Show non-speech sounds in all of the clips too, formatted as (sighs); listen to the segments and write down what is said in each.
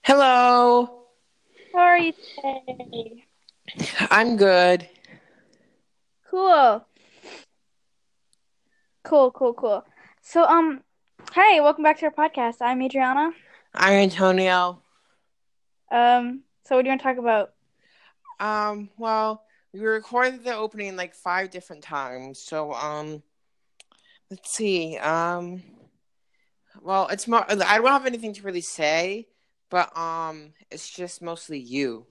Hello. How are you today? I'm good. Cool. Cool, cool, cool. So, um, hey, welcome back to our podcast. I'm Adriana. I'm Antonio. Um, so what do you want to talk about? Um, well, we recorded the opening like five different times. So, um, let's see. Um, well, it's more, I don't have anything to really say, but, um, it's just mostly you.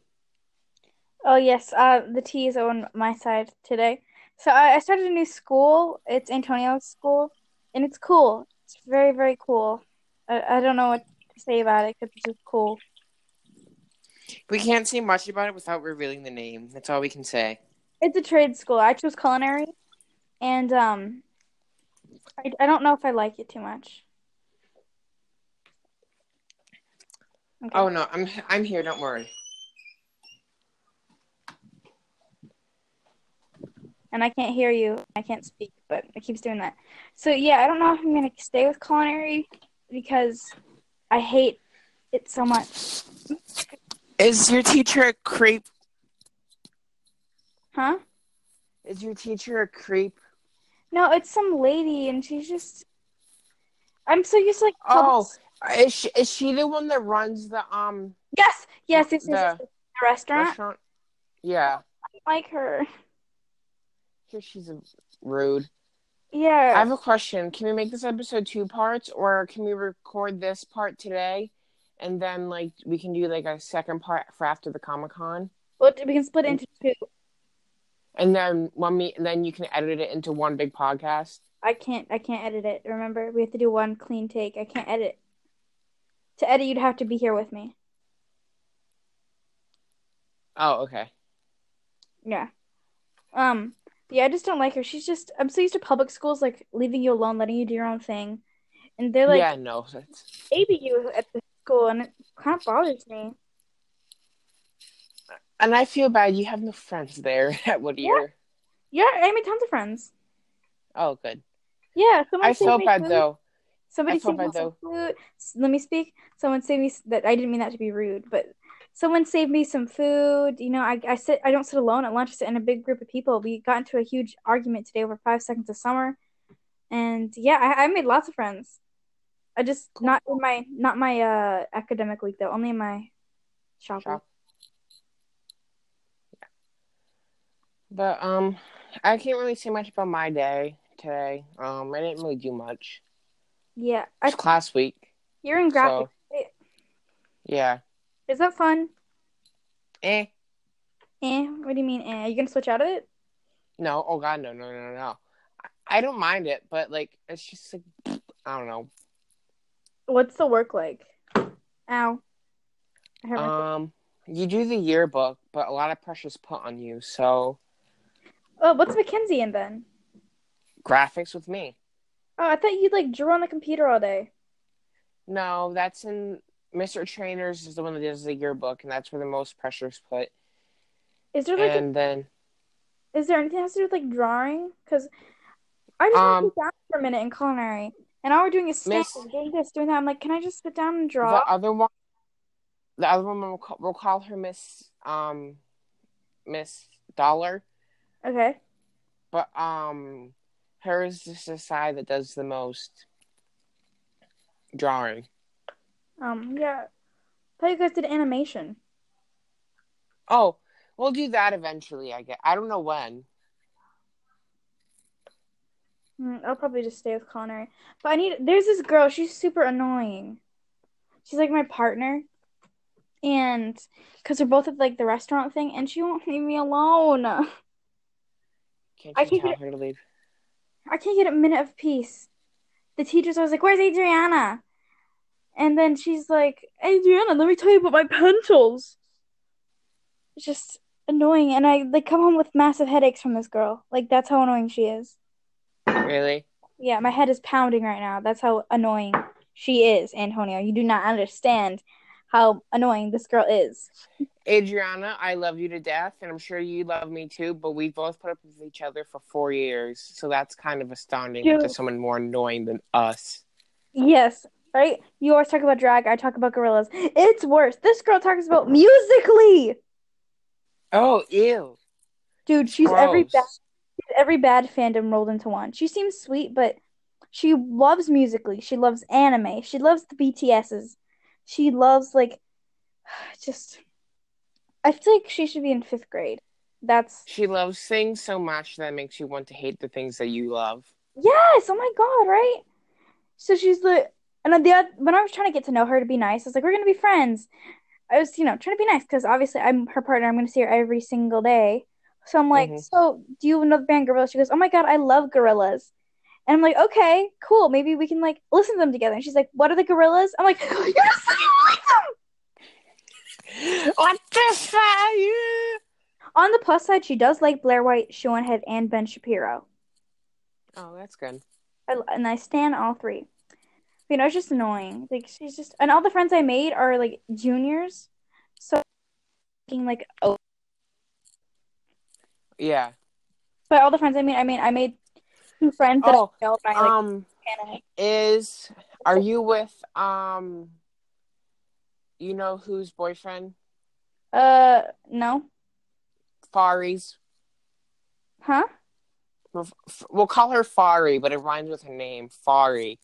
Oh, yes, uh, the tea is on my side today. So I, I started a new school. It's Antonio's school, and it's cool. It's very, very cool. I, I don't know what to say about it because it's just cool. We can't say much about it without revealing the name. That's all we can say. It's a trade school. I chose culinary, and um, I, I don't know if I like it too much. Okay. Oh no, I'm I'm here. Don't worry. and I can't hear you. I can't speak, but it keeps doing that. So yeah, I don't know if I'm gonna stay with culinary because I hate it so much. Is your teacher a creep? Huh? Is your teacher a creep? No, it's some lady, and she's just. I'm so used to like. Oh. public- Is she, is she the one that runs the um Yes, yes, yes, yes, yes, The- the restaurant. restaurant? Yeah. I like her. Here she's a rude. I Yeah. have a question. Can we make this episode two parts, or can we record this part today, and then like we can do like a second part for after the Comic Con, Well, we can Mm. split it into two. and then when we and then you can edit it into one big podcast. I can't. I can't edit it. Remember, we have to do one clean take. I can't edit. To edit, you'd have to be here with me. Oh, okay. Yeah. Um, yeah, I just don't like her. She's just I'm so used to public schools like leaving you alone, letting you do your own thing. And they're like yeah, no, that's, baby you at the school and it kind of bothers me. and I feel bad. You have no friends there (laughs) at Whittier. Yeah, I made tons of friends. Oh, good. Yeah, someone I saved felt me bad food. though. Somebody I felt saved me bad, some food. S- Let me speak. Someone saved me s- that I didn't mean that to be rude, but someone saved me some food. You know, I I sit I don't sit alone at lunch. I sit in a big group of people. We got into a huge argument today over five seconds of summer, and yeah, I, I made lots of friends. I just not in my not my uh academic week though, only in my shop. Shop. week. But um, I can't really say much about my day today. Um, I didn't really do much. Yeah, I, It's class week. you're in graphics. right? Yeah. Is that fun? Eh. Eh? What do you mean? Eh? Are you gonna switch out of it? No, oh god, no, no, no, no. I- I don't mind it, but like it's just like I don't know. What's the work like? Ow. I hurt my- Um, you do the yearbook, but a lot of pressure's put on you. So oh, what's McKinsey in then? graphics with me. Oh, I thought you like drew on the computer all day. No, that's in Mr. Trainers is the one that does the yearbook, and that's where the most pressure's put. Is there like And then is there anything that has to do with like drawing? Because I just want to Um, sit down for a minute in culinary, and all we're doing is Miss- snacking, doing this, doing that. I'm like, can I just sit down and the draw? other one, the other one we'll call, we'll call her Miss um Miss Dollar, okay. but um, hers is the side that does the most drawing. Um, yeah. I thought you guys did animation. Oh, we'll do that eventually. I guess I don't know when. Mm, I'll probably just stay with culinary. But I need, there's this girl, she's super annoying. She's like my partner. And because we're both at like the restaurant thing, and she won't leave me alone. I Can't I you can tell her to leave? can't get a minute of peace. The teacher's always like, Where's Adriana? And then she's like, Adriana, let me tell you about my pencils. It's just annoying. And I like come home with massive headaches from this girl. Like, that's how annoying she is. Really? Yeah, my head is pounding right now. That's how annoying she is, Antonio. You do not understand how annoying this girl is. Adriana, I love you to death, and I'm sure you love me too, but we both put up with each other for four years, so that's kind of astounding Dude. to someone more annoying than us. Yes, right? You always talk about drag. I talk about gorillas. It's worse. This girl talks about musically. Oh, ew. Dude, she's every Gross. bad, she's every bad fandom rolled into one. She seems sweet, but she loves musically. She loves anime. She loves the BTSs. She loves like (sighs) just. I feel like she should be in fifth grade. That's She loves things so much that it makes you want to hate the things that you (gasps) love. Yes, oh my god, right? So she's the and then the oth- when I was trying to get to know her to be nice, I was like, we're gonna be friends. I was, you know, trying to be nice because obviously I'm her partner. I'm gonna see her every single day. So I'm like, Mhm. so do you know the band Gorilla? She goes, oh my god, I love Gorillas. And I'm like, okay, cool. Maybe we can like listen to them together. And she's like, what are the Gorillas? I'm like, (laughs) you just said you like them. What the fuck? On the plus side, she does like Blair White, Sean Head, and Ben Shapiro. Oh, that's good. I, and I stand all three. You know, it's just annoying. Like she's just, and all the friends I made are like juniors, so being like, oh, Yeah. but all the friends I made, I mean, I made two friends that Oh, I know by like Um, anime. is are you with um, you know whose boyfriend? Uh, no, Fari's. huh? F- f- We'll call her Fari, but it rhymes with her name, Fari.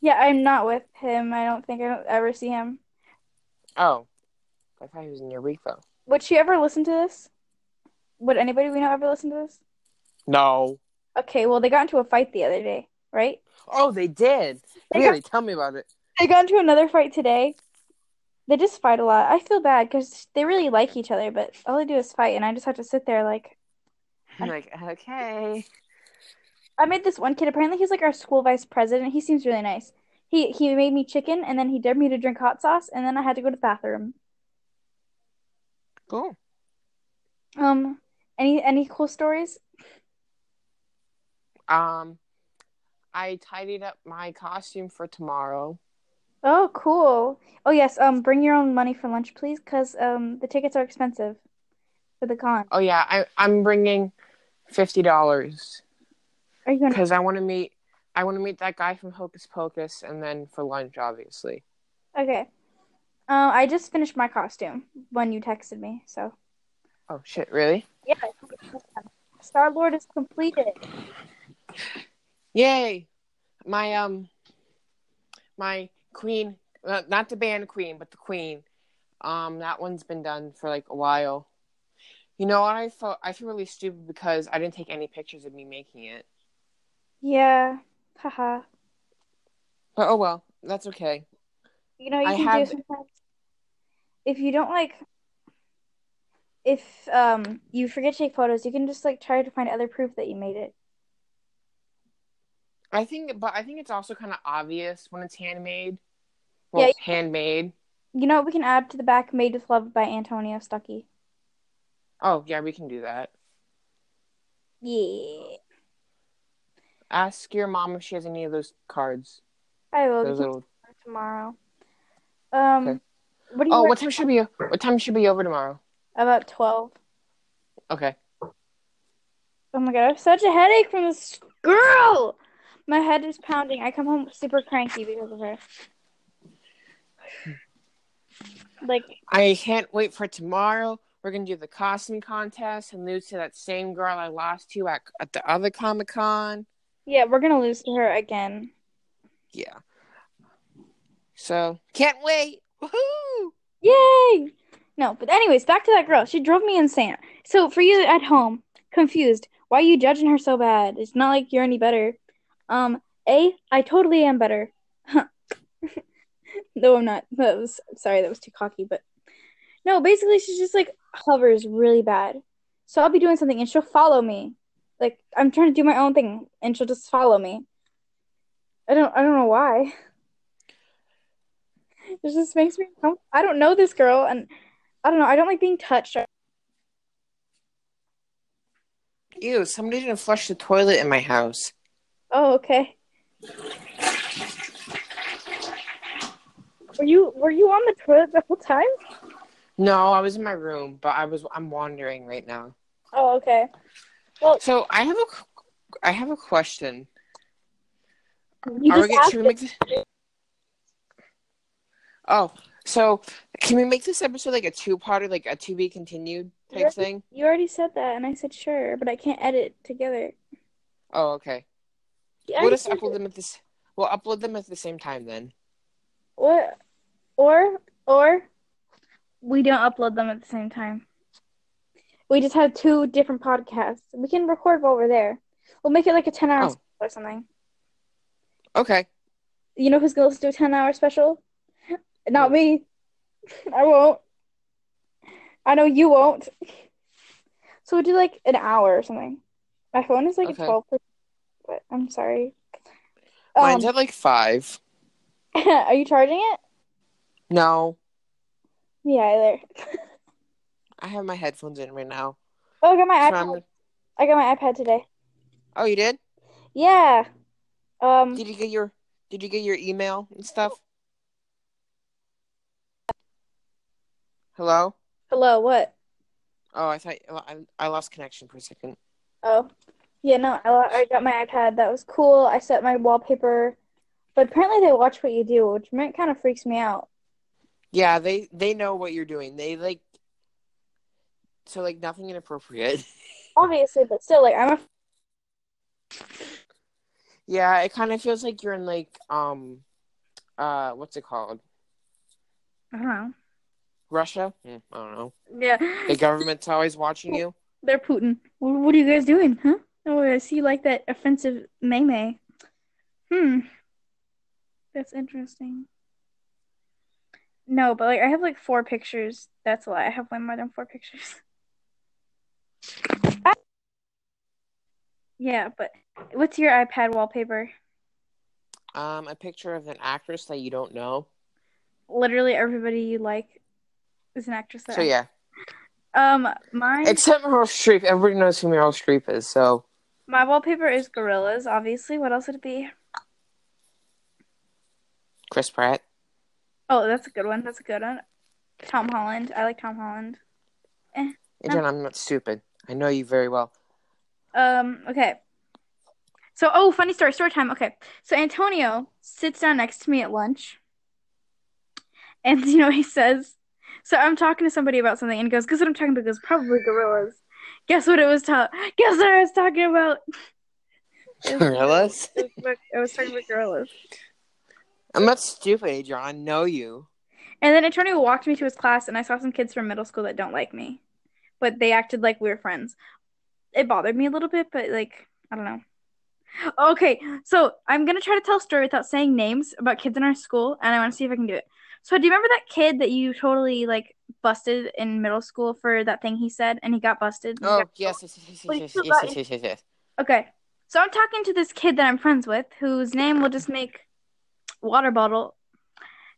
Yeah, I'm not with him. I don't think I don't ever see him. Oh, I thought he was in Eureka. Would she ever listen to this? Would anybody we know ever listen to this? No. Okay, well, they got into a fight the other day, right? Oh, they did. They got really? Tell me about it. they got into another fight today. They just fight a lot. I feel bad because they really like each other, but all they do is fight, and I just have to sit there like. I'm like, okay. I made this one kid. Apparently, he's like our school vice president. He seems really nice. He he made me chicken, and then he dared me to drink hot sauce, and then I had to go to the bathroom. Cool. Um, any any cool stories? Um, I tidied up my costume for tomorrow. Oh, cool. Oh yes. Um, bring your own money for lunch, please, because um the tickets are expensive for the con. Oh yeah, I, I'm bringing fifty dollars Are you going? to because I want to meet. I want to meet that guy from Hocus Pocus, and then for lunch, obviously. Okay. Um, I just finished my costume when you texted me, so. Oh shit! Really? Yeah. Star Lord is completed. Yay! My um, my queen, uh, not the band queen, but the queen. Um, that one's been done for like a while. You know what? I felt I feel really stupid because I didn't take any pictures of me making it. Yeah. Haha. But oh well, that's okay. You know what you I can have- do sometimes? If you don't like if um you forget to take photos, you can just like try to find other proof that you made it. I think, but I think it's also kind of obvious when it's handmade. Yeah, Well, you- handmade. You know what we can add to the back Made with Love by Antonio Stuckey. Oh yeah, we can do that. Yeah. Ask your mom if she has any of those cards. I will Those we can little. start tomorrow. Um Okay. what do you Oh, rec- what time should be? What time should be over tomorrow? about twelve? Okay. Oh my god, I have such a headache from this girl. My head is pounding. I come home super cranky because of her. Like, I can't wait for tomorrow. We're gonna do the costume contest and lose to that same girl I lost to at, at the other Comic Con. yeah, we're gonna lose to her again. Yeah. So can't wait. Woohoo! Yay! No, but anyways, back to that girl. She drove me insane. So for you at home, confused, why are you judging her so bad? It's not like you're any better. Um, A, I totally am better. (laughs) no, I'm not. That was sorry, that was too cocky, but no, basically she just like hovers really bad. So I'll be doing something and she'll follow me. Like I'm trying to do my own thing and she'll just follow me. I don't I don't know why. It just makes me uncom- I don't know this girl and I don't know, I don't like being touched. Ew! Somebody didn't flush the toilet in my house. Oh, okay. Were you were you on the toilet the whole time? No, I was in my room, but I was I'm wandering right now. Oh, okay. So I have a qu- I have a question. You Are we just get, asked should we make this? Oh, so can we make this episode like a two-parter, like a to be continued type Yeah. thing? You already said that, and I said sure, but I can't edit together. Oh, okay. Yeah, I we'll just said- upload them at this. We'll upload them at the same time then. What? Or or we don't upload them at the same time. We just have two different podcasts. We can record while we're there. We'll make it like a ten hour Oh. special or something. Okay. You know who's gonna listen to a ten hour special? Not me. (laughs) I won't. I know you won't. So we'll do like an hour or something. My phone is like Okay. a twelve percent but I'm sorry. Mine's Um, at like five. (laughs) are you charging it? No, Me either. I have my headphones in right now. Oh I got my So iPad. I'm- I got my iPad today. oh, you did? Yeah. Um, Did you get your Did you get your email and stuff? Hello. hello, what? Oh, I thought I, I lost connection for a second. Oh, yeah, no, I, I got my iPad. That was cool. I set my wallpaper, but apparently they watch what you do, which kind of freaks me out. Yeah, they they know what you're doing. They like so like nothing inappropriate. (laughs) Obviously, but still, like, I'm a, yeah, it kind of feels like you're in like um uh what's it called? I don't know. Russia? Hmm, I don't know. The Yeah, government's always watching you. (laughs) they're Putin. What, what are you guys doing, huh? Oh, I see you like that offensive May May. Hmm. That's interesting. No, but like I have like four pictures. That's a lie. I have way more than four (laughs) pictures. I- yeah, but what's your iPad wallpaper? Um, a picture of an actress that you don't know. Literally everybody you like is an actress that So yeah, um mine except Meryl Streep. Everybody knows who Meryl Streep is. So my wallpaper is gorillas, obviously. What else would it be? Chris Pratt. Oh, that's a good one. That's a good one. Tom Holland. I like Tom Holland. Again, I'm not stupid. I know you very well. Um, okay. So, oh, funny story, story time. Okay. So Antonio sits down next to me at lunch. And (laughs) you know, he says, so I'm talking to somebody about something and he goes, guess what I'm talking about? He goes, probably gorillas. Guess what it was ta- guess what I was talking about? (laughs) It was- Gorillas? it was about- I was talking about gorillas. I'm not stupid, John. I know you. And then Antonio walked me to his class, and I saw some kids from middle school that don't like me, but they acted like we were friends. It bothered me a little bit, but like I don't know. Okay, so I'm gonna try to tell a story without saying names about kids in our school, and I want to see if I can do it. So do you remember that kid that you totally like busted in middle school for that thing he said, and he got busted? He Oh got- yes, yes, yes, Wait, yes, yes, so yes, that yes, yes, yes, yes. Okay, so I'm talking to this kid that I'm friends with, whose name will just make water bottle.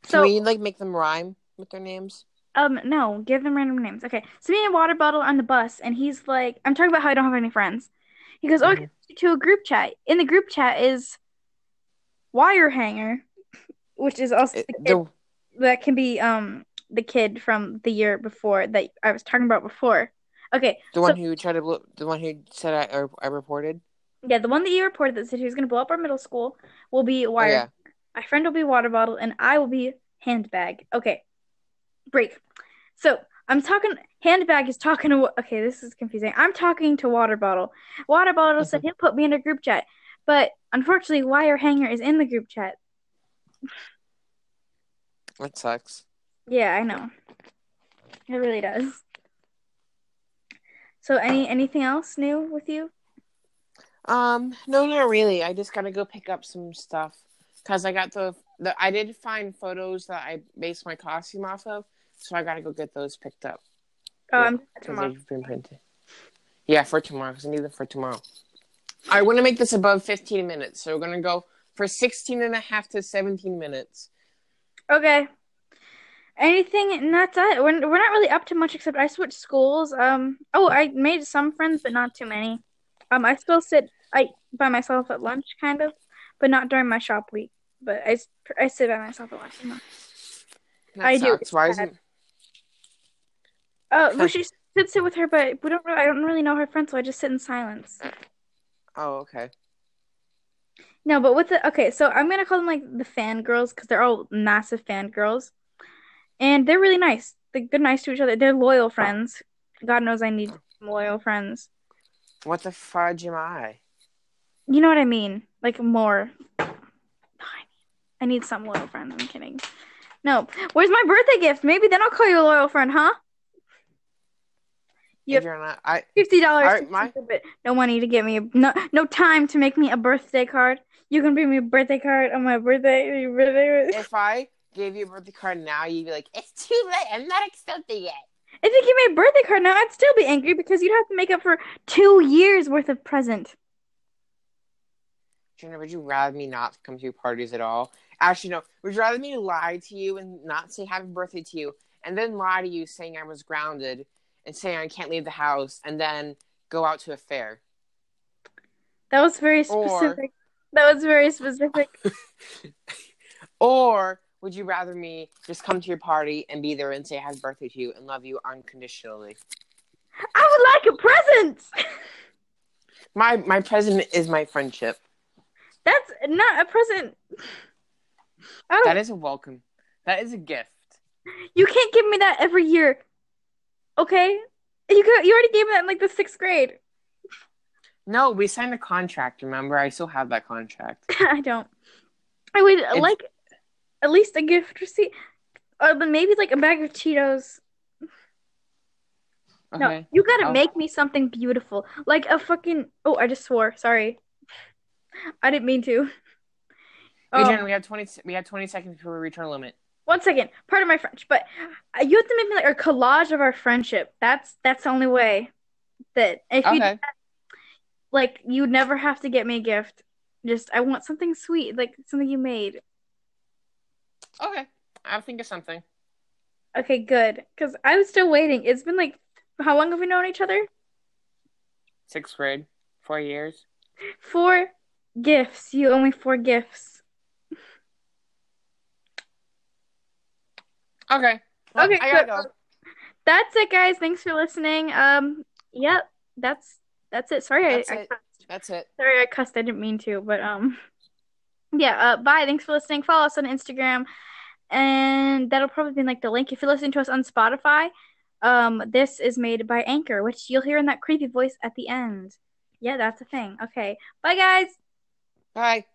Can we like make them rhyme with their names? Um, no, give them random names. Okay. So me and Water Bottle on the bus, and he's like, I'm talking about how I don't have any friends. He goes, Oh, Mm-hmm. I can send you to a group chat. In the group chat is Wire Hanger, which is also It- the kid Eh, the- that can be um the kid from the year before that I was talking about before. Okay, The one who tried to blow, the one who said I, I, I reported. yeah, the one that you reported that said he was gonna blow up our middle school will be Oh, Wire yeah. My friend will be water bottle, and I will be handbag. Okay, break. So I'm talking. Handbag is talking to. Okay, this is confusing. I'm talking to water bottle. Water bottle said he'll put me in a group chat, but unfortunately, wire hanger is in the group chat. That sucks. Yeah, I know. It really does. So any anything else new with you? Um, no, not really. I just gotta go pick up some stuff because I got the, the I did find photos that I based my costume off of, so I gotta go get those picked up Oh, Yeah, I'm because tomorrow. they've been printed. Yeah, for tomorrow. 'cause I need them for tomorrow. I want to make this above 15 minutes, so we're gonna go for 16 and a half to 17 minutes. Okay. Anything, and that's it. We're, we're not really up to much except I switched schools. Um, oh, I made some friends, but not too many. Um, I still sit I by myself at lunch, kind of, but not during my shop week. But I, s- I sit by myself at lunch. now. That I do. sucks. Why It's isn't Uh, well, she did sit with her, but we don't. Really, I don't really know her friends, so I just sit in silence. oh okay. No, but with the okay, so I'm gonna call them like the fangirls because they're all massive fangirls. and they're really nice. Like they're nice to each other. They're loyal friends. God knows I need some loyal friends. What the fudge am I? You know what I mean? Like more. I need some loyal friends. I'm kidding. No, where's my birthday gift? Maybe then I'll call you a loyal friend, huh? Yep. If you're not, I Fifty dollars, Alright, my- but no money to get me a, no no time to make me a birthday card. You can bring me a birthday card on my birthday. Your birthday. if I gave you a birthday card now, you'd be like, "It's too late. I'm not accepting it." If you give me a birthday card now, I'd still be angry because you'd have to make up for two years worth of present. Junior, would you rather me not come to your parties at all? Actually, no. Would you rather me lie to you and not say happy birthday to you, and then lie to you saying I was grounded and saying I can't leave the house, and then go out to a fair? That was very Or- specific. That was very specific. Or would you rather me just come to your party and be there and say happy birthday to you and love you unconditionally? I would like a present. My my present is my friendship. That's not a present. Oh, That is a welcome. That is a gift. you can't give me that every year. Okay, you got, you already gave me that in like the sixth grade. (laughs) No, we signed a contract. Remember, I still have that contract. I don't. I would It's- like at least a gift receipt, or then maybe like a bag of Cheetos. No, Okay. you gotta Oh. make me something beautiful, like a fucking. Oh, I just swore. Sorry, I didn't mean to. Wait, Oh. Jen, we have twenty. We have twenty seconds before we reach (laughs) our limit. one second part of my french but uh, you have to make me like a collage of our friendship that's that's the only way that if you Okay. like you'd never have to get me a gift just i want something sweet like something you made Okay. I'll think of something. okay good because i was still waiting it's been like how long have we known each other Sixth grade, four years. four gifts you owe me four gifts Okay. Well, Okay, I gotta so- uh, go. that's it guys thanks for listening um yep that's that's it sorry That's I, I it. That's it. Sorry, I cussed. I didn't mean to, but um, yeah. Uh, bye. Thanks for listening. Follow us on Instagram, and that'll probably be in, like the link if you're listening to us on Spotify. Um, this is made by Anchor, which you'll hear in that creepy voice at the end. Yeah, that's a thing. Okay, bye, guys. Bye.